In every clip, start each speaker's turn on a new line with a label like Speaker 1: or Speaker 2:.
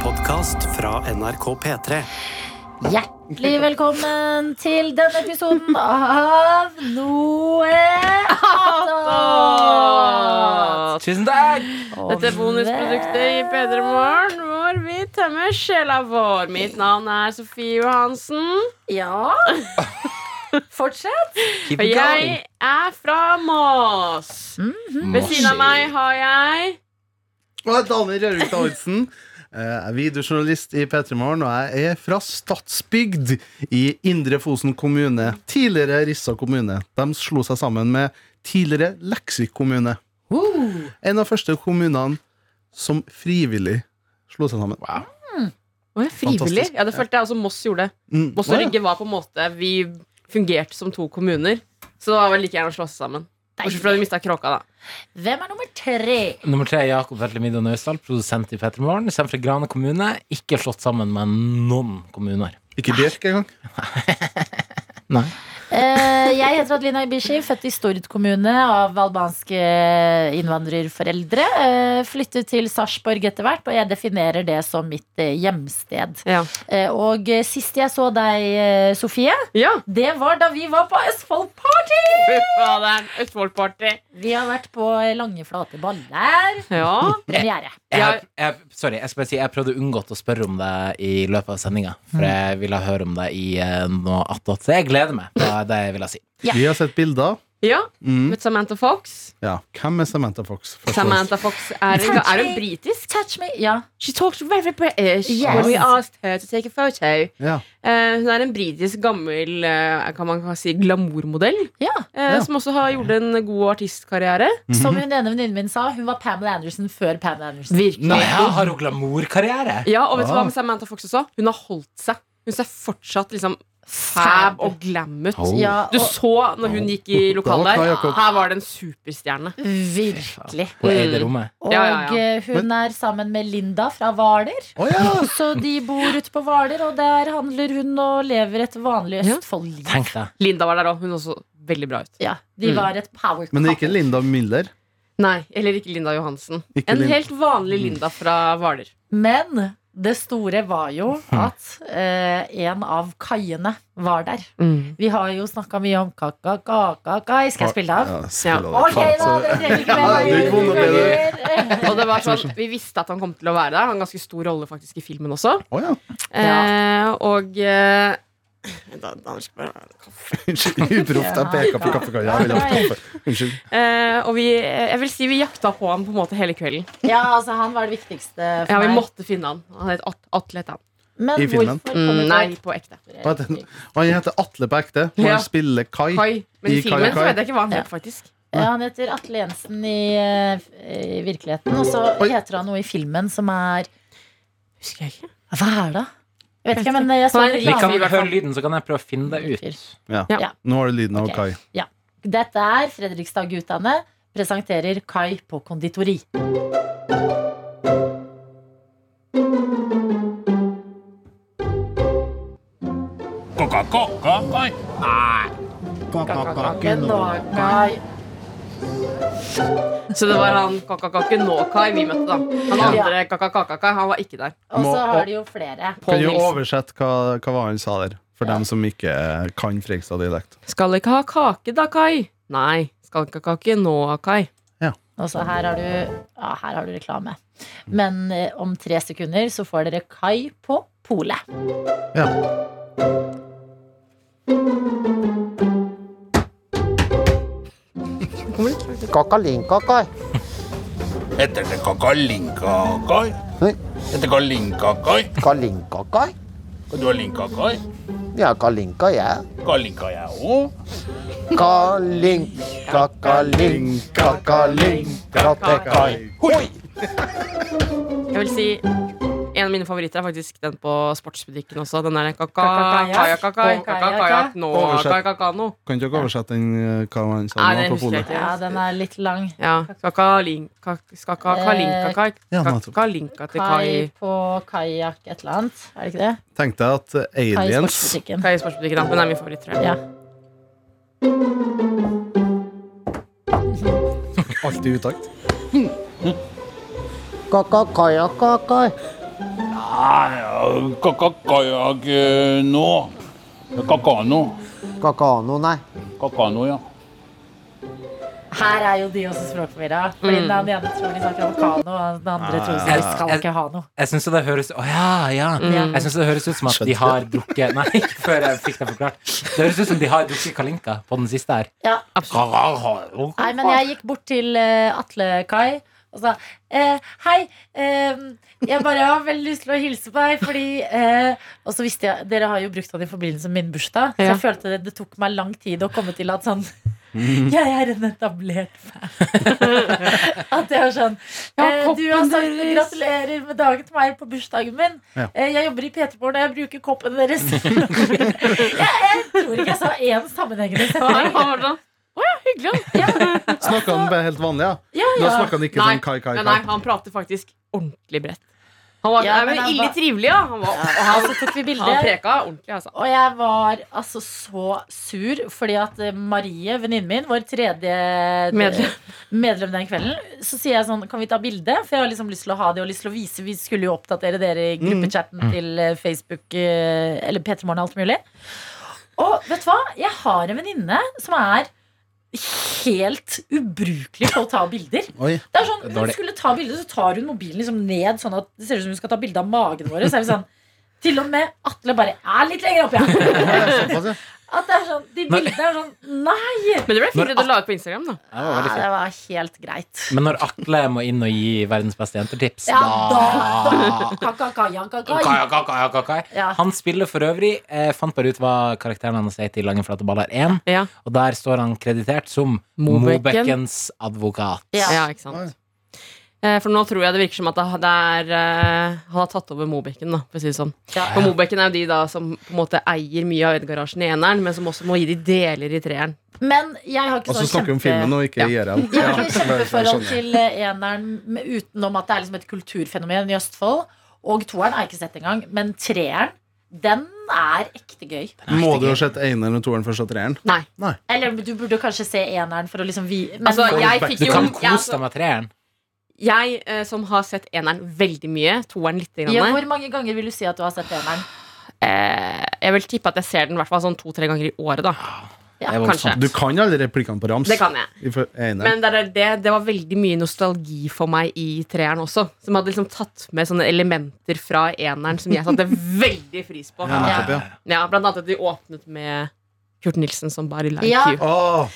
Speaker 1: podkast fra NRK P3.
Speaker 2: Hjertelig velkommen til denne episoden av Noe attåt!
Speaker 3: Tusen takk!
Speaker 4: Dette er bonusproduktet i P3 Morgen, hvor vi tømmer sjela vår. Mitt navn er Sofie Johansen,
Speaker 2: Ja. Fortsett.
Speaker 3: Keep
Speaker 4: og
Speaker 3: it
Speaker 4: jeg
Speaker 3: going. Mhm.
Speaker 4: er fra Mås. Ved siden av meg har jeg
Speaker 5: Og Daniel Rørvik Davidsen. Jeg er videojournalist i P3 Morgen, og jeg er fra Stadsbygd i Indre Fosen kommune. Tidligere Rissa kommune. De slo seg sammen med tidligere Leksvik kommune. En av første kommunene som frivillig slo seg sammen.
Speaker 4: Å, jeg er frivillig.
Speaker 5: Fantastisk.
Speaker 4: Ja, det følte jeg også Moss gjorde.
Speaker 5: Mm.
Speaker 4: Moss og Rygge var på en måte Vi fungerte som to kommuner, så det var vel like gjerne å slå seg sammen. Bortsett fra at vi mista kråka, da.
Speaker 2: Hvem er nummer tre?
Speaker 3: Nummer tre er Jakob Vetlemido Naustdal, produsent i P3 Morgen. Kommer fra Grane kommune. Ikke slått sammen med noen kommuner.
Speaker 5: Ikke Bjørk engang.
Speaker 3: Nei.
Speaker 2: Eh, jeg heter Adelina Ibishi, født i Stord kommune av albanske innvandrerforeldre. Eh, flyttet til Sarpsborg etter hvert, og jeg definerer det som mitt eh, hjemsted.
Speaker 4: Ja.
Speaker 2: Eh, og eh, sist jeg så deg, eh, Sofie,
Speaker 4: ja.
Speaker 2: det var da vi var på Østfold Party!
Speaker 4: Fy faderen. Østfoldparty.
Speaker 2: Vi har vært på lange, flate baller.
Speaker 4: Ja.
Speaker 2: Premiere.
Speaker 3: Jeg,
Speaker 4: Ja.
Speaker 3: jeg, sorry, jeg skal bare si Jeg prøvde å unngå å spørre om det i løpet av sendinga.
Speaker 4: Mm.
Speaker 3: For jeg ville høre om det i eh, noe attåt. Så jeg gleder meg. Det er det jeg ville si.
Speaker 2: Ja.
Speaker 5: Vi har sett bilder.
Speaker 4: ja.
Speaker 5: Mm.
Speaker 4: Med Samantha Fox.
Speaker 5: Ja. Hvem er Samantha Fox? Først og fremst.
Speaker 4: Samantha Fox er, er hun britisk?
Speaker 2: Touch me. Ja.
Speaker 4: She talks very British
Speaker 2: Yes.
Speaker 4: when we asked her to take a photo.
Speaker 5: Ja.
Speaker 4: Eh, hun er en britisk gammel eh, kan man si glamourmodell,
Speaker 2: ja.
Speaker 4: eh,
Speaker 5: Ja.
Speaker 4: som også har gjort en god artistkarriere.
Speaker 2: Som hun ene venninnen min sa, hun var Pamela Anderson før Pamela Anderson.
Speaker 4: Virkelig.
Speaker 3: Nei, jeg har jo glamourkarriere!
Speaker 4: Ja, og vet du
Speaker 5: Ah.
Speaker 4: hva med Samantha Fox også? Hun har holdt seg. Hun ser fortsatt liksom fab og glam ut.
Speaker 3: Oh.
Speaker 2: Ja,
Speaker 4: Du
Speaker 2: og
Speaker 4: så når hun gikk i lokalet
Speaker 5: Da var
Speaker 4: der,
Speaker 5: Jakob.
Speaker 4: her var det en superstjerne.
Speaker 2: virkelig.
Speaker 3: Hun
Speaker 4: Mm.
Speaker 3: eide rommet.
Speaker 2: Og
Speaker 4: Ja, ja, ja.
Speaker 2: eh, hun er sammen med Linda fra Hvaler.
Speaker 5: Å ja!
Speaker 2: Så de bor ute på Hvaler, og der handler hun og lever et vanlig
Speaker 4: Ja.
Speaker 2: Østfold-liv.
Speaker 3: Tenk deg.
Speaker 4: Linda var der òg. Hun så også veldig bra ut.
Speaker 2: Ja, de var et power
Speaker 5: Men det er
Speaker 2: couple.
Speaker 5: ikke Linda Müller.
Speaker 4: Nei, Eller ikke Linda Johansen.
Speaker 5: Ikke
Speaker 4: en
Speaker 5: Linda.
Speaker 4: helt vanlig Linda fra Hvaler.
Speaker 2: Men det store var jo
Speaker 4: Hm.
Speaker 2: at eh, en av kaiene var der.
Speaker 4: Mm.
Speaker 2: Vi har jo snakka mye om kaka-kaka-kai. Skal jeg spille av?
Speaker 5: Ja, spiller
Speaker 2: Ok,
Speaker 5: det.
Speaker 2: da, dere trenger ikke mer.
Speaker 5: Ja, det er ikke vondt å bli
Speaker 4: Og det var sånn, Vi visste at han kom til å være der. Han har en ganske stor rolle faktisk i filmen også.
Speaker 5: Å ja.
Speaker 4: Eh, og eh, da, da, skal jeg bare-
Speaker 5: Unnskyld. Uproft. Jeg peka på kaffekaia. Jeg ville hatt kaffe. Unnskyld.
Speaker 4: eh, og vi, jeg vil si vi jakta på han på en måte hele kvelden.
Speaker 2: Ja, altså, han var det viktigste for
Speaker 4: Ja, Vi
Speaker 2: meg.
Speaker 4: måtte finne han. Han het At Atle. het han.
Speaker 2: Men
Speaker 5: I filmen?
Speaker 2: hvorfor kommer
Speaker 4: Mm,
Speaker 2: det
Speaker 4: nei, på ekte.
Speaker 5: Og at den- og han heter Atle på ekte. Og
Speaker 4: Ja.
Speaker 5: han spiller Kai.
Speaker 4: Kai. Men i
Speaker 5: I Kai
Speaker 4: filmen
Speaker 5: og Kai.
Speaker 4: så vet jeg ikke hva han het, faktisk.
Speaker 2: Ja, han heter Atle Jensen i, eh, i virkeligheten, og så
Speaker 5: Oi.
Speaker 2: heter han noe i filmen som er
Speaker 4: Husker jeg ikke
Speaker 2: Hva er det? Jeg vet ikke, men jeg så
Speaker 4: Nei,
Speaker 3: Vi kan
Speaker 2: reklame.
Speaker 4: i hvert fall.
Speaker 3: høre lyden, så kan jeg prøve å finne det ut.
Speaker 5: Nå har du lyden av
Speaker 2: Ok.
Speaker 5: Kai.
Speaker 2: Dette er Fredrikstad-guttene presenterer Kai på konditori. Men nå, Kai
Speaker 4: Så det var han kakakaken nå, Kai, vi møtte, da. Han
Speaker 2: Ja.
Speaker 4: andre kakakakai, han var ikke der.
Speaker 2: Og så
Speaker 5: Må-
Speaker 2: har de jo flere.
Speaker 5: Kan du
Speaker 4: Nilsen.
Speaker 5: oversette hva, hva var han sa der? For dem som ikke eh, kan Fredrikstad-dialekt.
Speaker 4: Skal ikke ha kake da, Kai? Nei. Skal ikke ha kake nå, Kai.
Speaker 2: Og så her har du, ja, her har du reklame. Men eh, om tre sekunder så får dere Kai på polet.
Speaker 6: Kakalinkakar.
Speaker 7: Heter det kakalinkakai?
Speaker 6: Nei.
Speaker 7: Heter det kalinkakai?
Speaker 6: Kalinkakar?
Speaker 7: Kan du ha linkakai?
Speaker 6: Ja, kalinka, jeg.
Speaker 7: Kalinka jeg òg.
Speaker 6: Kalinka, kalinka, kalinka, tekai. Hoi!
Speaker 4: Jeg vil si en av mine favoritter er faktisk den på sportsbutikken også. Den der
Speaker 2: Kakakayak. Kakakayak.
Speaker 5: Oversett.
Speaker 4: kaka-kajak-nå-kaka-kano.
Speaker 5: Kan du ikke oversette den, eh, hva han sa
Speaker 4: Nei,
Speaker 5: nå
Speaker 4: det
Speaker 5: på
Speaker 4: husker jeg
Speaker 5: polet?
Speaker 4: ikke.
Speaker 2: Ja, den er litt lang.
Speaker 4: Ja. Skakalinkakai.
Speaker 5: Ja, nettopp.
Speaker 4: Kakalinka til
Speaker 2: Eh, Kai
Speaker 4: Kai.
Speaker 2: på kajakk et eller annet. Er det ikke det?
Speaker 5: Tenkte jeg at eh,
Speaker 2: Kai i
Speaker 5: aliens
Speaker 2: sportsbutikken.
Speaker 4: Kai i sportsbutikken. da. Den er min favoritt, tror jeg.
Speaker 2: Ja.
Speaker 5: alltid i utakt.
Speaker 6: Kakakajakakai.
Speaker 2: ja,
Speaker 7: Nei, kakakajagno. Kakano.
Speaker 6: Kakano, nei.
Speaker 7: Kakano, ja.
Speaker 2: Her er jo de også språkforvirra. Fordi den ene tror de snakker om kano, og den andre tror de skal ikke ha noe.
Speaker 3: Jeg syns jo det høres Å ja, ja.
Speaker 4: Mm.
Speaker 3: Jeg synes det høres ut som at de har drukket Nei, ikke før jeg fikk det forklart. Det høres ut som de har drukket kalinka på den siste her.
Speaker 2: Ja.
Speaker 7: Kakakajagno.
Speaker 2: Nei, men jeg gikk bort til eh, Atle Kai og sa eh, Hei, eh, jeg bare har veldig lyst til å hilse på deg, fordi eh, Og så visste jeg Dere har jo brukt han i forbindelse med min bursdag, så
Speaker 4: Ja.
Speaker 2: jeg følte det, det tok meg lang tid å komme til at sånn Jeg er en etablert fan. At jeg er sånn
Speaker 4: Ja,
Speaker 2: eh, Du har
Speaker 4: koppen
Speaker 2: sagt
Speaker 4: deres.
Speaker 2: gratulerer med dagen til meg på bursdagen min.
Speaker 5: Ja.
Speaker 2: Eh, jeg jobber i PT-bordet, og jeg bruker koppen deres. jeg, jeg tror ikke jeg sa én sammenhengende
Speaker 4: Å
Speaker 2: setning.
Speaker 4: ja, hyggelig.
Speaker 2: Ja,
Speaker 5: Snakka han bare helt vanlig, ja?
Speaker 2: ja,
Speaker 5: Da
Speaker 2: ja.
Speaker 5: snakka han ikke sånn kai, kai,
Speaker 4: nei,
Speaker 5: kai.
Speaker 4: nei, han prater faktisk ordentlig bredt. Han var
Speaker 2: Ja,
Speaker 4: nei,
Speaker 2: men
Speaker 4: men
Speaker 2: han
Speaker 4: ille
Speaker 2: var-
Speaker 4: trivelig, ja. Han, var, og
Speaker 2: Og
Speaker 4: han,
Speaker 2: så tok vi
Speaker 4: han
Speaker 2: bilder.
Speaker 4: preka ordentlig, altså.
Speaker 2: Og jeg var altså så sur fordi at eh, Marie, venninnen min, vår tredje
Speaker 4: Medlem.
Speaker 2: medlem den kvelden, så sier jeg sånn Kan vi ta bilde? For jeg har liksom lyst til å ha det og lyst til å vise. Vi skulle jo oppdatere dere i gruppechatten til eh, Facebook eh, eller P3 Morgen og alt mulig. Og vet du hva? Jeg har en venninne som er helt ubrukelig på å ta bilder.
Speaker 5: Oi.
Speaker 2: Det er sånn, Hun
Speaker 3: Dårlig.
Speaker 2: skulle ta bilde, så tar hun mobilen liksom ned, sånn at det ser ut som hun skal ta bilde av magen vår. Så er vi sånn Til og med Atle bare er litt lenger opp, ja.
Speaker 5: Ja, såpass, ja.
Speaker 2: At det er sånn, De
Speaker 3: Men-
Speaker 2: bildene er sånn Nei!
Speaker 4: Men det ble fint at du la ut på Instagram, da.
Speaker 3: Det var veldig fint.
Speaker 2: det var helt greit.
Speaker 3: Men når Atle må inn og gi verdens beste jenter-tips,
Speaker 2: Ja, da,
Speaker 3: da
Speaker 2: da. Ka, ja, ka,
Speaker 3: Kai, kai, kai, kai, kai.
Speaker 2: Ja.
Speaker 3: Han spiller for øvrig eh, Fant bare ut hva karakteren hans heter i Lange flate baller 1.
Speaker 4: Ja.
Speaker 3: Og der står han kreditert som
Speaker 4: Mobekken.
Speaker 3: Mobekkens advokat.
Speaker 2: Ja.
Speaker 4: Ja, ikke sant. Eh, For nå tror jeg det virker som at det det er eh, Han har tatt over Mobekken, da, for å si det sånn.
Speaker 2: Ja.
Speaker 4: Og Mobekken er jo de da som på en måte eier mye av garasjen i eneren, men som også må gi de deler i treeren.
Speaker 2: Men jeg har ikke
Speaker 5: Og så
Speaker 2: sånn
Speaker 5: snakker vi om filmen og ikke IRL.
Speaker 2: Jeg har ikke sånn
Speaker 5: Ja,
Speaker 2: kjempeforhold
Speaker 5: skjønner.
Speaker 2: til eh, eneren med- utenom at det er liksom et kulturfenomen i Østfold. Og toeren har jeg ikke sett engang. Men treeren, den er ekte gøy.
Speaker 5: Må du ha sett eneren og toeren først og treeren?
Speaker 4: Nei.
Speaker 2: Eller du burde kanskje se eneren for å liksom vi... Men,
Speaker 4: Altså, jeg fikk
Speaker 3: Du
Speaker 4: jo
Speaker 3: kan
Speaker 4: jeg,
Speaker 3: kose
Speaker 4: altså,
Speaker 3: deg med treeren.
Speaker 4: jeg eh, som har sett eneren veldig mye, toeren lite grann.
Speaker 2: ja, hvor mange ganger vil du si at du har sett eneren?
Speaker 4: eh, jeg vil tippe at jeg ser den i hvert fall sånn to-tre ganger i året, da.
Speaker 2: Ja,
Speaker 3: Det er
Speaker 4: kanskje.
Speaker 3: voldsomt.
Speaker 5: Du kan alle replikkene på rams.
Speaker 4: Det kan jeg.
Speaker 5: I for- eneren.
Speaker 4: Men det, er det, det var veldig mye nostalgi for meg i treeren også. Som hadde liksom tatt med sånne elementer fra eneren som jeg satte veldig pris på.
Speaker 5: Ja, nettopp, ja.
Speaker 4: Ja, Blant annet at de åpnet med Kurt Nilsen som Body Like
Speaker 2: Ja.
Speaker 4: You.
Speaker 5: Åh,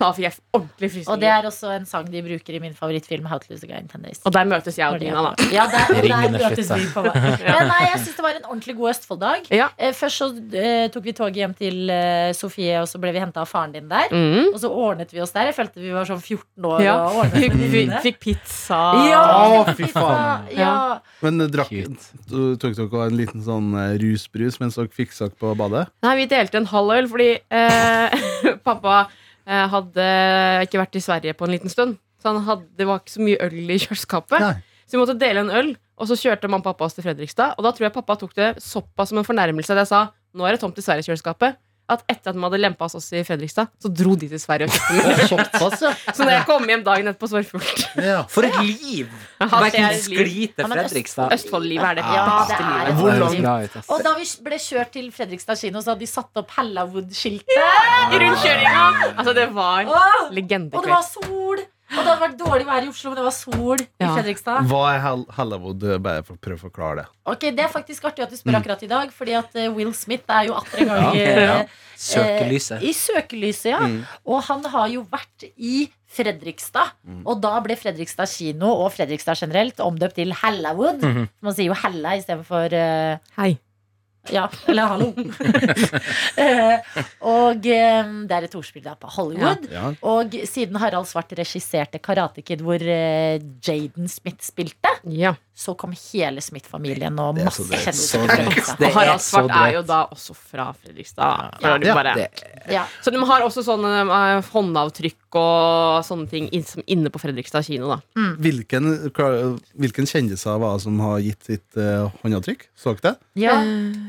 Speaker 4: Da fikk jeg ordentlig frysninger.
Speaker 2: Og det er også en sang de bruker i min favorittfilm How to Lose a Guy in 10 Days.
Speaker 4: Og der møtes jeg og Dina, da.
Speaker 2: Ja, der, og der
Speaker 3: Ringene
Speaker 2: møtes
Speaker 3: slutta.
Speaker 2: vi på vei. Men nei, jeg syns det var en ordentlig god Østfolddag.
Speaker 4: Ja.
Speaker 2: Eh, Først så eh, tok vi toget hjem til eh, Sofie, og så ble vi henta av faren din der.
Speaker 4: Mm.
Speaker 2: Og så ordnet vi oss der. Jeg følte vi var sånn 14 år.
Speaker 4: Ja.
Speaker 2: Og ordnet
Speaker 4: Fikk,
Speaker 2: med
Speaker 4: fikk,
Speaker 2: venninne.
Speaker 4: fikk pizza.
Speaker 2: Ja,
Speaker 5: Å, fy faen.
Speaker 2: Ja.
Speaker 5: Men eh, drakk,
Speaker 3: Cute.
Speaker 5: du tok dere en liten sånn eh, rusbrus mens dere fiksa dere på badet?
Speaker 4: Nei, vi delte en halv øl fordi eh, pappa eh, hadde ikke vært i Sverige på en liten stund. Så han hadde, det var ikke så mye øl i kjøleskapet.
Speaker 5: Nei.
Speaker 4: Så vi måtte dele en øl, og så kjørte mamma og pappa oss til Fredrikstad. Og da tror jeg pappa tok det såpass som en fornærmelse at jeg sa nå er det tomt i Sverigekjøleskapet. At etter at de hadde lempa oss også i Fredrikstad, så dro de til Sverige og kjøpte den.
Speaker 5: Såpass, ja.
Speaker 4: Så når jeg kom hjem dagen etterpå, så var det fullt.
Speaker 5: ja.
Speaker 3: For et liv!
Speaker 4: Her ser
Speaker 3: Bekken
Speaker 4: jeg liv.
Speaker 3: sklir
Speaker 2: Ja,
Speaker 3: til
Speaker 2: men Øst-
Speaker 3: Fredrikstad.
Speaker 4: Østfoldlivet er det
Speaker 2: Ja, det
Speaker 4: beste
Speaker 2: er
Speaker 4: livet.
Speaker 2: et
Speaker 5: Hvor
Speaker 2: sånt
Speaker 5: langt-
Speaker 2: liv.
Speaker 3: Bra ut, ass.
Speaker 2: Og da vi ble kjørt til Fredrikstad kino, så hadde de satt opp Hallawood-skiltet.
Speaker 4: I rundkjøringa! Altså, det var
Speaker 2: Åh! Og det var
Speaker 4: legendekveld.
Speaker 2: sol! Og det hadde vært dårlig vær i Oslo, men det var sol i
Speaker 4: Ja.
Speaker 2: Fredrikstad.
Speaker 5: Hva er Hall Hallawood? Bare for, prøv å forklare det.
Speaker 2: Ok, Det er faktisk artig at du spør akkurat i dag, fordi at eh, Will Smith er jo atter en gang
Speaker 3: Ja, ok, ja.
Speaker 2: eh,
Speaker 3: Søkelyset.
Speaker 2: eh, I søkelyset, ja. Og han har jo vært i Fredrikstad. Og da ble Fredrikstad kino og Fredrikstad generelt omdøpt til Hallawood. Man sier jo Hella istedenfor uh,
Speaker 4: Hei.
Speaker 2: Ja, eller hallo. Eh, og eh, det er et ordspill der på Hollywood.
Speaker 5: Ja.
Speaker 2: Og siden Harald Svart regisserte Karate Kid, hvor eh, Jaden Smith spilte,
Speaker 4: Ja.
Speaker 2: så kom hele Smith-familien og
Speaker 5: Det er så
Speaker 2: masse
Speaker 5: drøyt.
Speaker 2: kjendiser.
Speaker 3: Så
Speaker 2: fra
Speaker 3: drøyt.
Speaker 2: Fredrikstad.
Speaker 3: Det
Speaker 4: Og Harald
Speaker 3: er så
Speaker 4: Svart er
Speaker 3: drøyt.
Speaker 4: jo da også fra Fredrikstad. Da er det
Speaker 5: Ja,
Speaker 4: bare-
Speaker 3: det-
Speaker 2: Ja.
Speaker 4: Så de har også sånne eh, håndavtrykk og sånne ting inn- som inne på Fredrikstad kino. da
Speaker 5: Mm. Hvilken, hvilken kjendiser var det som har gitt sitt eh, håndavtrykk? Så dere det?
Speaker 2: Ja.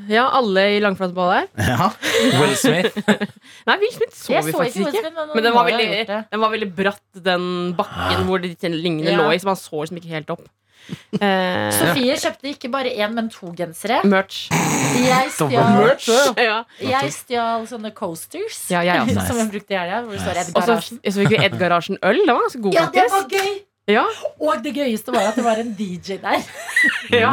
Speaker 4: Ja, alle i langflateball der.
Speaker 5: Ja.
Speaker 3: Will Smith.
Speaker 4: Nei, Will Smith så
Speaker 2: Jeg
Speaker 4: vi
Speaker 2: så ikke
Speaker 4: faktisk
Speaker 2: Will
Speaker 4: ikke.
Speaker 2: Smith, men,
Speaker 4: Men den
Speaker 2: noen
Speaker 4: var,
Speaker 2: har
Speaker 4: veldig,
Speaker 2: gjort det.
Speaker 3: Ah.
Speaker 4: den var veldig bratt, den bakken hvor de lignende
Speaker 2: Ja.
Speaker 4: lå i. Så man så liksom ikke helt opp. Eh,
Speaker 2: Sofie kjøpte ikke bare én, men to gensere.
Speaker 4: merch.
Speaker 2: Jeg stjal,
Speaker 5: Merch, ja.
Speaker 4: Ja.
Speaker 2: jeg stjal sånne coasters
Speaker 4: Ja, jeg også.
Speaker 2: som jeg brukte i helga. Hvor det står Ed
Speaker 4: Og så
Speaker 2: Garasjen.
Speaker 4: jeg så fikk vi Ed Garasjen øl. Det var ganske god,
Speaker 2: Ja, det var
Speaker 4: faktisk.
Speaker 2: gøy!
Speaker 4: Ja,
Speaker 2: Og det gøyeste var at det var en DJ der.
Speaker 4: ja.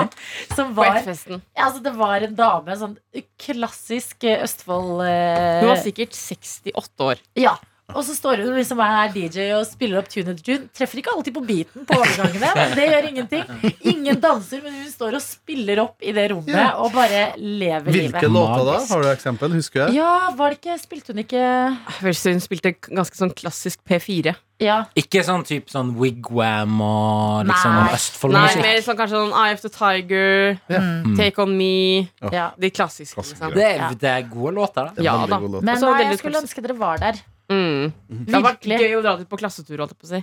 Speaker 2: Som
Speaker 4: På
Speaker 2: var,
Speaker 4: Ed-festen.
Speaker 2: ja, altså det var en dame, sånn klassisk eh, Østfold eh,
Speaker 4: Hun var sikkert 68 år.
Speaker 2: Ja. Og så står hun liksom er DJ og spiller opp Tuned June. Treffer ikke alltid på beaten på overgangene. men Det gjør ingenting. Ingen danser, men hun står og spiller opp i det rommet
Speaker 5: Ja.
Speaker 2: og bare lever
Speaker 5: Hvilke
Speaker 2: livet.
Speaker 5: låter da? Har du eksempel? Husker jeg?
Speaker 2: Ja, var det ikke Spilte hun ikke
Speaker 4: Først Hun spilte ganske sånn klassisk P4.
Speaker 2: Ja.
Speaker 3: Ikke sånn type sånn wigwam og
Speaker 2: Nei.
Speaker 3: liksom noe
Speaker 4: Nei,
Speaker 3: Østfold-musikk.
Speaker 4: mer Mm. sånn kanskje sånn Eye of the Tiger, Take On Me.
Speaker 2: ja.
Speaker 4: De klassiske. Liksom.
Speaker 3: Det,
Speaker 2: Ja.
Speaker 3: er- det er gode låter, da.
Speaker 5: Det er
Speaker 4: Ja,
Speaker 5: veldig
Speaker 4: da.
Speaker 5: god låt.
Speaker 2: Men
Speaker 4: Og så
Speaker 2: nei,
Speaker 4: veldig
Speaker 2: jeg skulle
Speaker 4: kort-
Speaker 2: ønske dere var der.
Speaker 4: Mm. Det har vært
Speaker 2: Virkelig.
Speaker 4: gøy å dra dit på klassetur, holdt jeg på å si.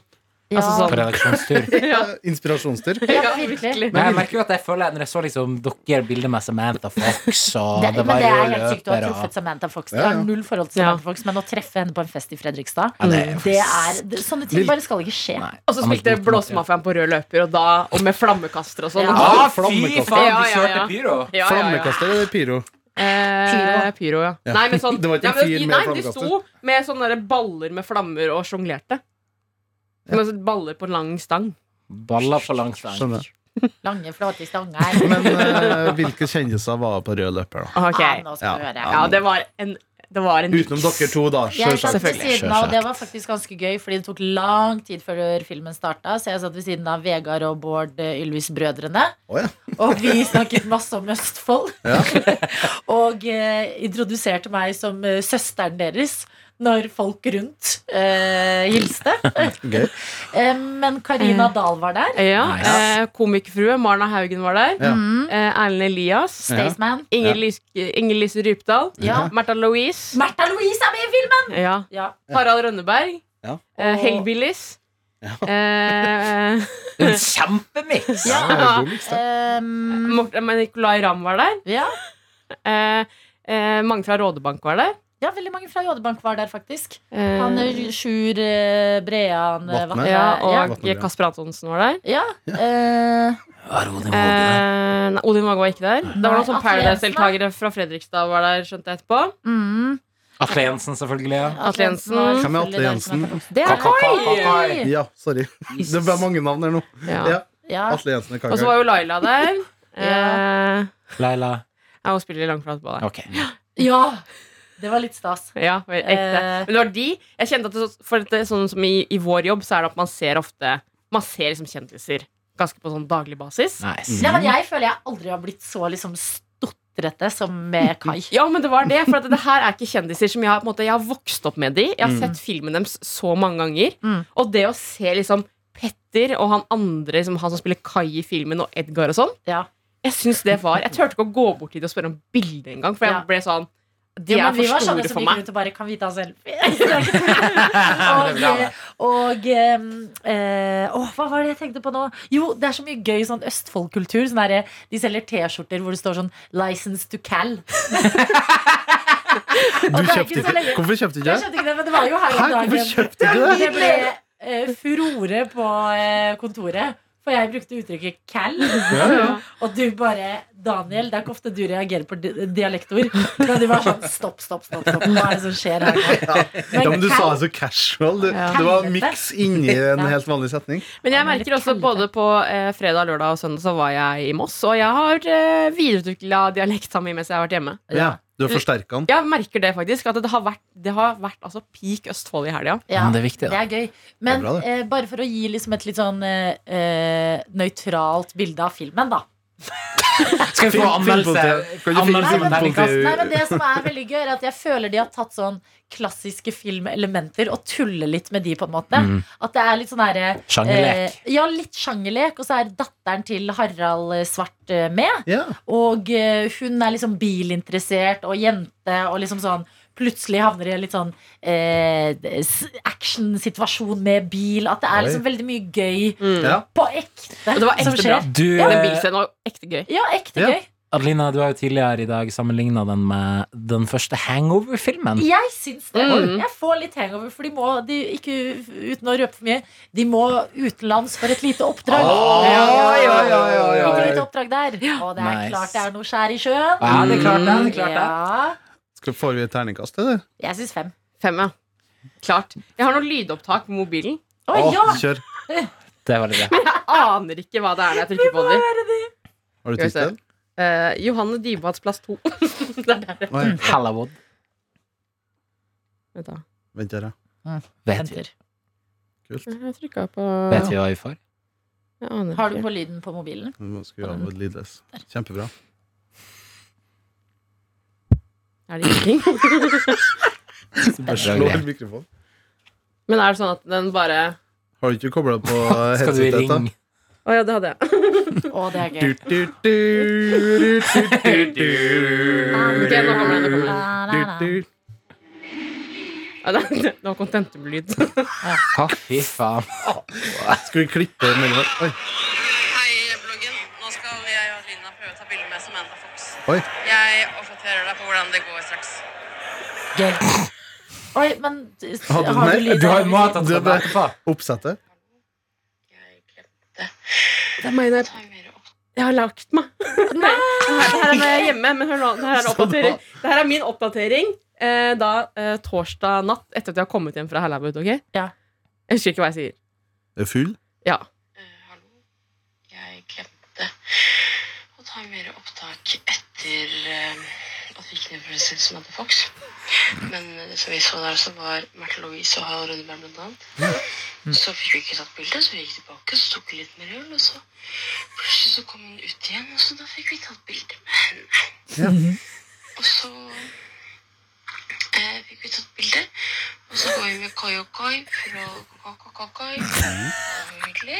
Speaker 2: Ja,
Speaker 4: Altså sånn-
Speaker 3: På redaksjonstur.
Speaker 4: Ja,
Speaker 5: Eh, Inspirasjonstur.
Speaker 2: ja virkelig.
Speaker 3: Men jeg merker jo at jeg føler Når jeg så liksom dere bildemessig Manta Fox og
Speaker 2: Det,
Speaker 3: det,
Speaker 2: men
Speaker 3: var
Speaker 2: det er
Speaker 3: røde
Speaker 2: helt sykt å ha
Speaker 3: løpere og-
Speaker 2: truffet Samantha Fox.
Speaker 5: Ja, ja.
Speaker 2: Jeg har null forhold til
Speaker 4: Ja.
Speaker 2: Samantha Fox, men å treffe henne på en fest i Fredrikstad,
Speaker 3: Ja, det er-
Speaker 2: det er det, Sånne ting bare skal ikke skje.
Speaker 3: Nei.
Speaker 4: Og så spilte Blåsemafiaen på rød løper, og, da, og med flammekaster og sånn.
Speaker 2: Ja.
Speaker 4: Og
Speaker 3: Ja,
Speaker 5: Ah,
Speaker 3: fy
Speaker 5: flammekaster.
Speaker 3: faen,
Speaker 4: Ja, ja,
Speaker 3: du
Speaker 4: ja.
Speaker 3: kjørte pyro!
Speaker 4: Ja, ja, ja.
Speaker 5: Flammekaster eller pyro?
Speaker 4: Eh, pyro, ja.
Speaker 5: Ja.
Speaker 4: Nei, men sånn,
Speaker 5: Det var ikke
Speaker 4: ja,
Speaker 5: en
Speaker 4: men,
Speaker 5: fyr med
Speaker 4: nei, de
Speaker 5: flammekaster.
Speaker 4: sto med sånne der baller med flammer og sjonglerte. Med sånne Baller på lang stang.
Speaker 3: Baller på langs vei.
Speaker 5: Skjønner.
Speaker 2: Lange, flate stanger.
Speaker 5: Men eh, hvilke kjendiser var på rød løper, da?
Speaker 4: Ok.
Speaker 2: Ja, nå skal vi
Speaker 5: Ja.
Speaker 2: høre.
Speaker 4: Ja, det var en, det var en
Speaker 5: Utenom dere to, da.
Speaker 2: Jeg satt
Speaker 5: Selvsagt.
Speaker 2: ved
Speaker 4: Selvfølgelig.
Speaker 2: siden av, og det var faktisk ganske gøy, fordi det tok lang tid før filmen starta. Så jeg satt ved siden av Vegard og Bård eh, Ylvis-brødrene.
Speaker 5: Å, ja.
Speaker 2: Og vi snakket masse om Østfold.
Speaker 5: Ja.
Speaker 2: og eh, introduserte meg som eh, søsteren deres når folk rundt eh, hilste.
Speaker 5: Gøy.
Speaker 2: Eh, men
Speaker 4: Mm.
Speaker 2: Karina Dahl var der.
Speaker 4: Ja,
Speaker 3: Nice.
Speaker 4: eh, Komikerfrue Marna Haugen var der.
Speaker 5: Ja.
Speaker 2: Mm.
Speaker 4: Eh, Erlend Elias.
Speaker 2: Staysman.
Speaker 4: Inger,
Speaker 5: Ja.
Speaker 4: Lys Inger Lise Rypdal.
Speaker 2: Ja.
Speaker 4: Märtha Louise.
Speaker 2: Märtha Louise er med i filmen!
Speaker 4: Ja.
Speaker 2: Ja.
Speaker 4: Harald Rønneberg.
Speaker 5: Ja.
Speaker 4: Eh, Hellbillies. Eh,
Speaker 3: En kjempemiks!
Speaker 5: Ja, det er god mix, da.
Speaker 2: Um,
Speaker 4: Morten- men Nicolay Ramm var der.
Speaker 2: ja.
Speaker 4: Eh, eh, mange fra Rådebank var der.
Speaker 2: ja, veldig mange fra Jådebank var der, faktisk.
Speaker 4: Eh,
Speaker 2: Han er Sjur eh, Brean eh,
Speaker 5: Vatne.
Speaker 2: Vatne.
Speaker 4: ja,
Speaker 2: ja.
Speaker 4: og
Speaker 5: Ja.
Speaker 4: Kasper Antonsen var der.
Speaker 2: Ja. eh,
Speaker 4: Eh, nei, Odin Våge var ikke der. Det var noen sånn
Speaker 2: Atle Jensen, da.
Speaker 4: Paradise-deltakere fra Fredrikstad var der, skjønte jeg etterpå.
Speaker 2: mm.
Speaker 3: Atle Jensen, selvfølgelig. Ja.
Speaker 2: Atle Jensen. var
Speaker 4: Hvem
Speaker 5: er Atle
Speaker 2: selvfølgelig der som
Speaker 5: Jensen?
Speaker 2: er- Det er
Speaker 3: Kakakakakai.
Speaker 2: Kai!
Speaker 5: Ja, sorry. Det var mange navn her nå.
Speaker 4: Ja.
Speaker 5: Ja.
Speaker 2: Ja.
Speaker 5: Atle Jensen er
Speaker 4: Og så
Speaker 5: kaka.
Speaker 4: var jo Laila der. Eh,
Speaker 3: Leila.
Speaker 4: ja, hun spiller i langflat på der.
Speaker 3: Ok.
Speaker 2: ja! Det var litt stas.
Speaker 4: Ja, vel, ekte.
Speaker 2: Eh.
Speaker 4: Men det var de. Jeg kjente at det, så- for at det, sånn som i, i vår jobb, så er det at man ser ofte Man ser liksom kjendiser ganske på sånn daglig basis.
Speaker 3: Nice.
Speaker 2: Ja, men jeg føler jeg aldri har blitt så liksom stotrete som med Kai.
Speaker 4: Ja, men det var det. For at det her er ikke kjendiser som jeg, har- på en måte, jeg har vokst opp med. de Jeg har sett filmen deres så mange ganger.
Speaker 2: Mm.
Speaker 4: Og det å se liksom Petter og han andre liksom, Han som spiller Kai i filmen, og Edgar og sånn
Speaker 2: Ja.
Speaker 4: Jeg synes det var Jeg turte ikke å gå bort til dem og spørre om bilde engang, for
Speaker 2: Ja.
Speaker 4: jeg ble sånn De
Speaker 2: Ja,
Speaker 4: er
Speaker 2: men vi var
Speaker 4: for
Speaker 2: sånne
Speaker 4: store
Speaker 2: som
Speaker 4: for
Speaker 2: gikk
Speaker 4: meg.
Speaker 2: rundt og bare Kan vi ta selfie? og eh, og ehm, eh, åh, hva var det jeg tenkte på nå? Jo, det er så mye gøy sånn Østfold-kultur. Sånn derre- de selger T-skjorter hvor det står sånn 'License to Cal'.
Speaker 5: Du
Speaker 2: Og det er
Speaker 5: kjøpte
Speaker 2: ikke så
Speaker 5: ikke?
Speaker 2: lenge-
Speaker 5: Hvorfor kjøpte
Speaker 2: Jeg
Speaker 5: ikke jeg?
Speaker 2: skjønte ikke det, men det var jo her
Speaker 5: Hæ,
Speaker 2: om dagen.
Speaker 5: hvorfor kjøpte ikke du det?
Speaker 2: Det ble eh, furore på eh, kontoret. For jeg brukte uttrykket 'cal', og du bare 'Daniel'. Det er ikke ofte du reagerer på di- dialektord. Men du var sånn 'stopp, stopp, stopp'. stopp. Hva er det som skjer her nå?
Speaker 5: Ja, men Du sa
Speaker 2: cal-
Speaker 5: det så casual. Det,
Speaker 4: Ja.
Speaker 5: det var miks inni en
Speaker 2: Ja.
Speaker 5: helt vanlig setning.
Speaker 4: Men jeg
Speaker 2: Han er litt
Speaker 4: merker også
Speaker 2: kaldere.
Speaker 4: både på eh, fredag, lørdag og søndag så var jeg i Moss, og jeg har eh, videreutvikla dialekta mi mens jeg har vært hjemme.
Speaker 5: Ja, Du har forsterka den.
Speaker 4: Jeg merker det faktisk, at det har vært, det har vært altså, peak Østfold i helga.
Speaker 2: Ja,
Speaker 3: Men det er viktig,
Speaker 2: Det
Speaker 3: da.
Speaker 2: er gøy. Men
Speaker 5: Det er bra, det.
Speaker 2: eh, bare for å gi liksom et litt sånn eh, eh, nøytralt bilde av filmen, da.
Speaker 3: Skal vi få anmeldelse?
Speaker 5: Kan du finne
Speaker 3: Anmeldelse
Speaker 2: Nei,
Speaker 3: på
Speaker 2: men,
Speaker 5: filmpolitiet?
Speaker 2: nei, men det som er veldig gøy, er at jeg føler de har tatt sånn klassiske filmelementer og tuller litt med de, på en måte.
Speaker 3: Mm.
Speaker 2: At det er litt sånn herre
Speaker 3: Sjangerlek.
Speaker 2: ja, litt sjangerlek. Og så er datteren til Harald eh, Svart eh, med.
Speaker 5: Ja.
Speaker 2: Og eh, hun er liksom bilinteressert og jente og liksom sånn Plutselig havner i en litt sånn eh, s- actionsituasjon med bil. At det er liksom veldig mye gøy
Speaker 5: Ja.
Speaker 2: på ekte
Speaker 4: Og det var
Speaker 2: som
Speaker 4: ekte
Speaker 2: skjer.
Speaker 4: bra.
Speaker 3: Du
Speaker 4: Den
Speaker 3: eh,
Speaker 4: bilscenen var ekte gøy.
Speaker 2: Ja, ekte
Speaker 5: Ja.
Speaker 2: gøy.
Speaker 3: Adelina, du har jo tidligere i dag sammenligna den med den første Hangover-filmen.
Speaker 2: Jeg syns det.
Speaker 4: Mm.
Speaker 2: Jeg får litt hangover, for de må de, ikke uten å røpe for mye. De må utenlands for et lite oppdrag.
Speaker 3: Ah,
Speaker 2: Et lite oppdrag der. Og det er
Speaker 3: Nice.
Speaker 2: klart det er noe skjær i sjøen.
Speaker 3: Ja, det er klart det. det, er klart det.
Speaker 2: Ja.
Speaker 5: Skal, får vi et terningkast, eller?
Speaker 2: Jeg syns fem.
Speaker 4: Fem, ja. Klart. Jeg har noen lydopptak på mobilen.
Speaker 2: Å ja!
Speaker 5: Kjør.
Speaker 3: Mm. det er veldig bra.
Speaker 4: Jeg aner ikke hva det er når jeg trykker på den.
Speaker 5: Har du
Speaker 4: Skal vi se.
Speaker 5: tittel?
Speaker 4: Eh, Johanne Dybads plass 2. Der er det.
Speaker 5: Å, ja.
Speaker 3: Hallawood.
Speaker 4: Vent da.
Speaker 5: Vent her, ja.
Speaker 3: Vet vi,
Speaker 2: Venter.
Speaker 4: Jeg trykket på
Speaker 3: vet vi hva vi får?
Speaker 4: Jeg aner
Speaker 2: Har du
Speaker 4: ikke.
Speaker 2: på lyden på mobilen?
Speaker 5: Vi må skru av lydløs. Kjempebra.
Speaker 4: Er det ingenting?
Speaker 5: Bare slår mikrofonen.
Speaker 4: Men er det sånn at den bare
Speaker 5: Har du ikke kobla på eh,
Speaker 3: Skal du
Speaker 5: headsetet? da?
Speaker 3: ringe?
Speaker 4: Å ja, det hadde jeg.
Speaker 2: Å, det er
Speaker 5: Du,
Speaker 2: gøy.
Speaker 5: du, du, du, du, du,
Speaker 4: Ok, nå kommer den, nå kommer den.
Speaker 2: Na,
Speaker 5: du,
Speaker 2: na, na.
Speaker 5: du.
Speaker 4: Ja, det, det var kontentemlyd.
Speaker 3: Ha, fy faen.
Speaker 5: Skal vi klippe mellom Oi.
Speaker 8: Hei, bloggen. Nå skal jeg og Lina prøve å ta bilde med Samantha Fox.
Speaker 5: Oi.
Speaker 8: Jeg oppdaterer deg på hvordan det går straks.
Speaker 2: Gøy. Oi, men
Speaker 5: Har du mer?
Speaker 2: lyd?
Speaker 3: Du har jo mat at
Speaker 5: Det
Speaker 3: du
Speaker 5: er
Speaker 3: skal
Speaker 5: bra.
Speaker 3: etterpå.
Speaker 5: Oppsettet?
Speaker 4: Det er meg der. Jeg har lagt meg. Nei, det her er når jeg er hjemme, men hør nå. Det her er, oppdatering. Det her er min oppdatering eh, da eh, torsdag natt etter at jeg har kommet hjem fra Hallabout. ok?
Speaker 2: Ja.
Speaker 4: Jeg husker ikke hva jeg sier.
Speaker 5: Er full?
Speaker 4: Ja.
Speaker 8: hallo. Jeg glemte å ta mer opptak etter at vi gikk ned for å se Samantha Fox. Men det som vi så der, så var Märtha Louise og Harald Rønneberg blant annet. Så fikk vi ikke tatt bilde, så vi gikk tilbake, så tok vi litt mer øl, og så plutselig så kom hun ut igjen, og så da fikk vi tatt bilde med henne. Og så eh, fikk vi tatt bilde, og så går vi med Koi og Koi fra Kakakakoi. Det var hyggelig.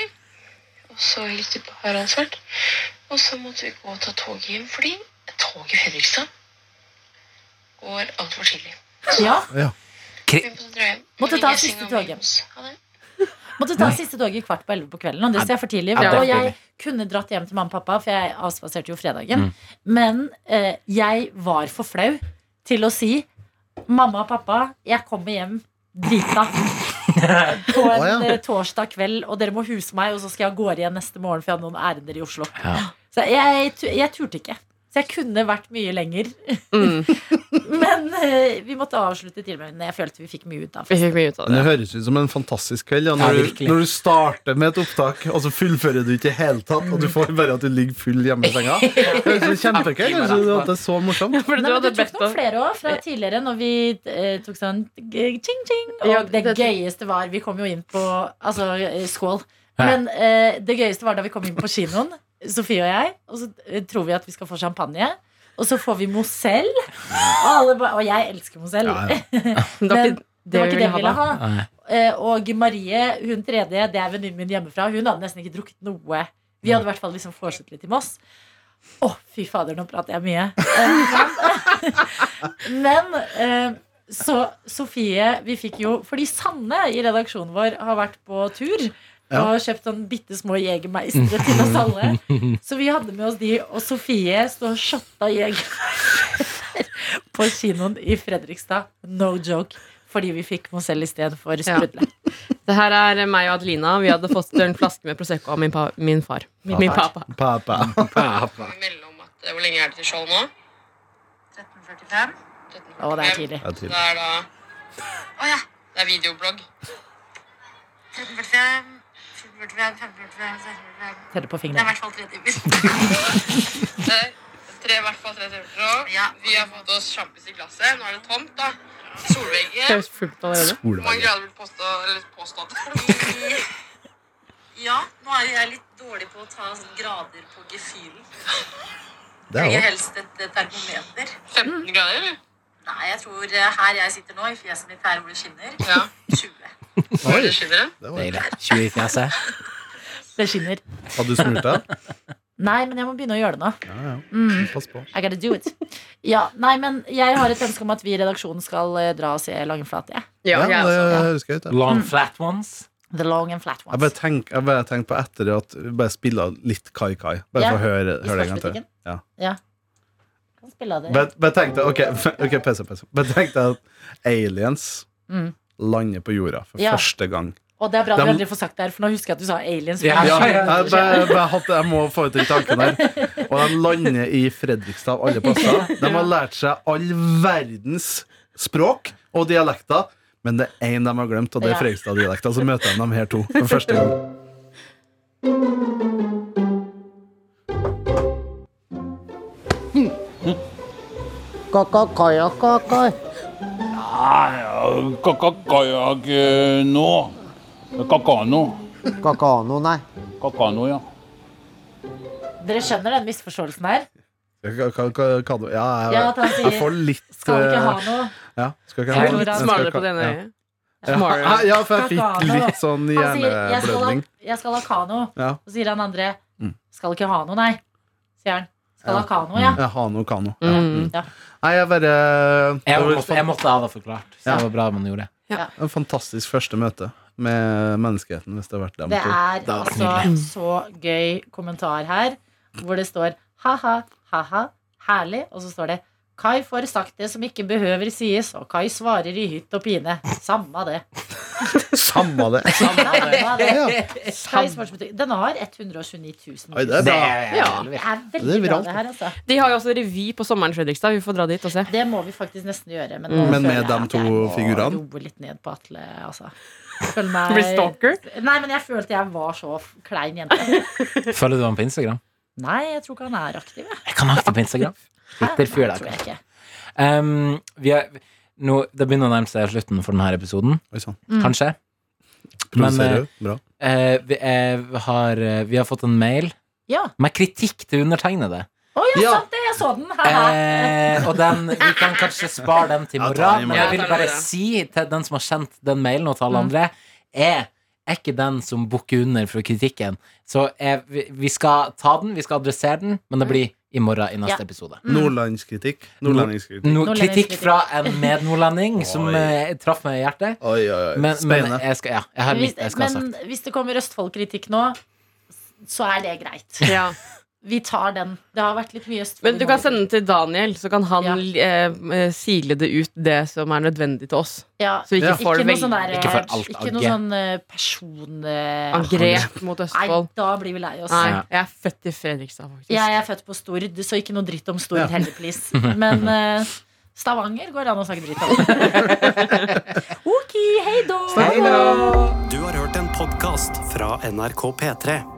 Speaker 8: Og så hilste vi på Harald Svart. Og så måtte vi gå og ta toget hjem, fordi toget i Fredrikstad går altfor tidlig.
Speaker 2: Ja,
Speaker 8: Vi måtte dra hjem.
Speaker 2: Måtte
Speaker 8: Men
Speaker 2: ta
Speaker 8: jeg
Speaker 2: siste
Speaker 8: synger
Speaker 2: toget.
Speaker 8: om James. Ha det.
Speaker 2: Måtte ta siste toget kvart på elleve på kvelden. Og det ser jeg for tidlig.
Speaker 3: Ja, det er
Speaker 2: Og
Speaker 3: for
Speaker 2: jeg kunne dratt hjem til mamma og pappa, for jeg avspaserte jo
Speaker 3: Mm.
Speaker 2: fredagen. Men eh, jeg var for flau til å si mamma og pappa, jeg kommer hjem drita. På en
Speaker 5: Å, ja.
Speaker 2: eh, torsdag kveld, og dere må huse meg, og så skal jeg av gårde igjen neste morgen, for jeg hadde noen ærender i Oslo.
Speaker 3: Ja.
Speaker 2: Så jeg, tu- jeg turte ikke. Så jeg kunne vært mye lenger.
Speaker 4: Mm.
Speaker 2: Men eh, vi måtte avslutte tidligere. Men jeg følte vi fikk mye ut av
Speaker 4: Vi
Speaker 2: det.
Speaker 4: fikk mye ut av
Speaker 5: Men Det
Speaker 4: det.
Speaker 5: høres ut som en fantastisk kveld. Ja,
Speaker 3: Ja,
Speaker 5: når, du,
Speaker 3: virkelig.
Speaker 5: når du starter med et opptak, og så fullfører du ikke i hele tatt, og du får bare at du ligger full hjemme i senga. Det høres ut som kjempekveld. Det høres ut som at det er så
Speaker 4: For
Speaker 5: morsomt.
Speaker 2: Nei,
Speaker 4: du
Speaker 2: men du
Speaker 4: hadde
Speaker 2: tok
Speaker 4: bedt
Speaker 2: noen
Speaker 4: om
Speaker 2: flere òg, fra tidligere, når vi eh, tok sånn ching-ching. Og
Speaker 4: Ja,
Speaker 2: det,
Speaker 4: det-
Speaker 2: gøyeste var Vi kom jo inn på Altså, eh, skål.
Speaker 3: Ja.
Speaker 2: Men eh, det gøyeste var da vi kom inn på kinoen, Sofie og jeg, og så eh, tror vi at vi skal få champagne. Og så får vi Mozell. Og, alle ba- og jeg elsker Mozell.
Speaker 5: Ja, ja.
Speaker 4: Det var ikke
Speaker 2: Det var ikke det vi ville ha.
Speaker 3: Nei.
Speaker 2: Eh, Og Marie, hun tredje, det er venninnen min hjemmefra, hun hadde nesten ikke drukket noe. Vi hadde i hvert fall liksom fortsatt litt i Moss. Å, fy fader, nå prater jeg mye. Eh, Men, men eh, så Sofie, vi fikk jo Fordi Sanne i redaksjonen vår har vært på tur.
Speaker 5: Ja.
Speaker 2: Og kjøpt sånn bitte små Jegermeistere til oss alle. Så vi hadde med oss de, og Sofie står og shotta Jegermeister på kinoen i Fredrikstad. No joke. Fordi vi fikk Mozell istedenfor
Speaker 4: Ja.
Speaker 2: sprudle.
Speaker 4: Det her er meg og Adelina. Vi hadde fått en flaske med Prosecco av min, pa, min far. Min, pappa.
Speaker 5: Pappa.
Speaker 8: Vi melder om at eh, Hvor lenge er det til show nå? 13.45.
Speaker 2: Å, det er tidlig.
Speaker 5: Ja, til.
Speaker 8: Det er da Å ja. Det er videoblogg. 13.45, 14.45, 15.45, 16.45
Speaker 2: Telle på
Speaker 8: Det er i
Speaker 2: fingrene.
Speaker 8: hvert fall tre timer. Det er tre, i hvert fall tre timer fra. Vi har fått oss sjampis i glasset. Nå er det tomt, da.
Speaker 4: Det er
Speaker 8: Solvegge.
Speaker 4: jo fullt allerede.
Speaker 8: Hvor mange grader vil påstå eller påstått?
Speaker 9: Ja, nå er jeg litt dårlig på å ta sånn grader på gefühlen.
Speaker 5: Det er
Speaker 9: Jeg
Speaker 5: også.
Speaker 9: helst et eh, termometer.
Speaker 8: 15 grader, eller?
Speaker 9: Nei, jeg tror eh, her jeg sitter nå, i fjeset mitt her hvor det skinner,
Speaker 8: Ja.
Speaker 9: 20.
Speaker 8: Hvor er det skinner?
Speaker 3: Deilig. 20 i fjeset.
Speaker 2: Det skinner.
Speaker 5: Hadde du smurt deg?
Speaker 2: Nei, men jeg må begynne å gjøre det nå.
Speaker 5: Ja, ja. Pass på.
Speaker 2: I gotta do it. Ja, nei, men jeg har et ønske om at vi i redaksjonen skal eh, dra og se Langenflat. Ja.
Speaker 4: Ja,
Speaker 5: Ja,
Speaker 4: jeg
Speaker 5: det
Speaker 4: også.
Speaker 5: høres gøy ut. ja.
Speaker 3: Long flat ones.
Speaker 2: The long and flat
Speaker 5: Jeg bare
Speaker 2: ones.
Speaker 5: tenk- jeg bare tenkte på etter at Bare spille litt Kai Kai. Bare
Speaker 2: Ja,
Speaker 5: for å høre,
Speaker 2: I
Speaker 5: høre det en gang til.
Speaker 2: sportsbutikken.
Speaker 5: Ja.
Speaker 2: Ja. Kan spille av det.
Speaker 5: Men men tenk deg Ok, ok, pause, pause. Men tenk deg at aliens
Speaker 2: Mm.
Speaker 5: lander på jorda for
Speaker 2: Ja.
Speaker 5: første gang.
Speaker 2: Og det er bra at
Speaker 5: Dem-
Speaker 2: vi aldri får sagt det her, for nå husker jeg at du sa aliens.
Speaker 3: Ja,
Speaker 5: Ja,
Speaker 2: for det er så
Speaker 5: jeg, jeg,
Speaker 2: mye som skjer.
Speaker 5: bare- bare hatt- jeg må få ut den tanken her. Og de lander i Fredrikstad av alle plasser. De har lært seg all verdens språk og dialekter. Men det er én de har glemt, og det er
Speaker 2: Ja.
Speaker 5: Fredrikstad-dialekten. Så møter de dem her to for første gang.
Speaker 6: Kakakajakakai.
Speaker 7: Nei, kakakajak eh, nå. Kakano.
Speaker 6: Kakano, nei.
Speaker 7: Kakano, ja.
Speaker 2: Dere skjønner den misforståelsen her?
Speaker 5: Ka- ka- ka- ka- Ja,
Speaker 2: Ja, at han
Speaker 5: jeg, jeg
Speaker 2: sier
Speaker 5: får litt
Speaker 2: skal ikke ha
Speaker 5: eh,
Speaker 2: noe
Speaker 5: Ja, skal ikke ha
Speaker 4: Jeg er
Speaker 5: noe.
Speaker 4: litt smartere på det ene øyet.
Speaker 5: Ja.
Speaker 4: Smartere.
Speaker 5: ja, for jeg fikk
Speaker 2: Kakao.
Speaker 5: litt sånn
Speaker 2: Han sier 'jeg skal ha,
Speaker 5: hjerneblødning.
Speaker 2: jeg skal ha kano',
Speaker 5: Ja.
Speaker 2: og så sier han andre
Speaker 5: Mm.
Speaker 2: 'skal ikke ha noe', nei. Sier han. Skal
Speaker 5: Ja.
Speaker 2: ha kano, ja.
Speaker 5: Jeg har noe kano. Ja.
Speaker 4: Mm.
Speaker 2: ja.
Speaker 5: Nei, jeg
Speaker 3: Jeg
Speaker 5: bare det var
Speaker 3: måtte, jeg måtte ha det forklart. Så det var bra man gjorde det.
Speaker 5: En fantastisk første møte med menneskeheten, hvis det har vært dem
Speaker 2: Det
Speaker 5: to.
Speaker 2: er
Speaker 3: var
Speaker 2: altså så gøy kommentar her, hvor det står ha-ha, ha-ha, herlig, og så står det Kai får sagt det som ikke behøver sies, og Kai svarer i hytt og pine. Samma det.
Speaker 5: Samme det.
Speaker 2: Samma det.
Speaker 5: Ja, ja.
Speaker 2: Kai svarsbutikk. Den har 129 000.
Speaker 5: Oi, det er bra.
Speaker 4: Ja.
Speaker 2: Det er
Speaker 5: Det
Speaker 2: veldig
Speaker 5: er
Speaker 2: bra,
Speaker 5: viralt.
Speaker 2: det her, altså.
Speaker 4: De har jo også revy på sommeren i Fredrikstad. Vi får dra dit og se.
Speaker 2: Det må vi faktisk nesten gjøre. Men,
Speaker 5: Mm.
Speaker 2: føler
Speaker 5: Men med
Speaker 2: jeg
Speaker 5: dem
Speaker 2: at
Speaker 5: to
Speaker 2: jeg må
Speaker 5: figurene?
Speaker 2: Roe litt ned på Atle, altså. Føler meg
Speaker 4: Blir stalker?
Speaker 2: Nei, men jeg følte jeg var så f- klein jente.
Speaker 3: Følger du ham på Instagram?
Speaker 2: Nei, jeg tror ikke han er aktiv. jeg.
Speaker 3: Jeg kan ha det på
Speaker 2: Hæ?
Speaker 3: Instagram. Twitter fyr,
Speaker 2: Nei,
Speaker 3: da,
Speaker 2: tror jeg ikke.
Speaker 3: Um, vi er, nå, det begynner å nærme seg slutten for denne episoden,
Speaker 5: Oi sann.
Speaker 3: kanskje.
Speaker 5: Provoserer du? Bra.
Speaker 3: Eh, vi, eh, har, eh, vi har fått en mail
Speaker 2: Ja.
Speaker 3: med kritikk til undertegnede.
Speaker 2: Å ja,
Speaker 5: Ja.
Speaker 2: sant det! Jeg så den. Haha.
Speaker 3: Eh, og den, vi kan kanskje spare den til
Speaker 5: Ja, ta den i
Speaker 3: morgen,
Speaker 5: morgen.
Speaker 3: men jeg
Speaker 4: Ja,
Speaker 3: vil
Speaker 4: ta den i
Speaker 3: bare
Speaker 4: morgen. Mm.
Speaker 3: si til den som har sendt den mailen, og til alle andre, er er ikke den som bukker under for kritikken. Så er, vi, vi skal ta den, vi skal adressere den,
Speaker 4: Mm.
Speaker 3: men det blir i morgen i neste
Speaker 2: Ja.
Speaker 3: episode.
Speaker 5: Nordlandskritikk. Nordlandskritikk.
Speaker 3: No,
Speaker 2: Nordlendings
Speaker 3: kritikk
Speaker 2: kritikk.
Speaker 3: fra en mednordlending som
Speaker 5: Oi.
Speaker 3: eh, traff meg i hjertet.
Speaker 5: Oi, oi, oi.
Speaker 3: Men, men
Speaker 5: Spennende.
Speaker 3: jeg, skal, ja, jeg har
Speaker 2: Hvis,
Speaker 3: litt jeg skal ha
Speaker 2: men
Speaker 3: sagt.
Speaker 2: hvis det kommer Østfold-kritikk nå, så er det greit.
Speaker 4: Ja.
Speaker 2: Vi tar den. Det har vært litt mye Østfold.
Speaker 4: Men
Speaker 2: i
Speaker 4: du kan
Speaker 2: Norge.
Speaker 4: sende den til Daniel, så kan han
Speaker 2: Ja.
Speaker 4: eh, sile det ut det som er nødvendig til oss.
Speaker 2: ja.
Speaker 4: Så vi ikke
Speaker 5: Ja.
Speaker 4: får
Speaker 2: Ikke
Speaker 4: det
Speaker 2: noe sånn der,
Speaker 3: Ikke for alt
Speaker 2: ikke noe
Speaker 3: agge.
Speaker 2: sånn eh, person... eh,
Speaker 4: angrep mot
Speaker 2: Nei,
Speaker 4: Østfold.
Speaker 2: da blir vi lei oss.
Speaker 4: Nei,
Speaker 3: Ja.
Speaker 4: jeg er født i Fredrikstad, faktisk.
Speaker 2: Jeg er født på Stord, så ikke noe dritt om Stord
Speaker 5: Ja.
Speaker 2: heller, please. Men eh, Stavanger går det an å snakke dritt om. ok, hei då!
Speaker 1: Du har hørt en podkast fra NRK P3.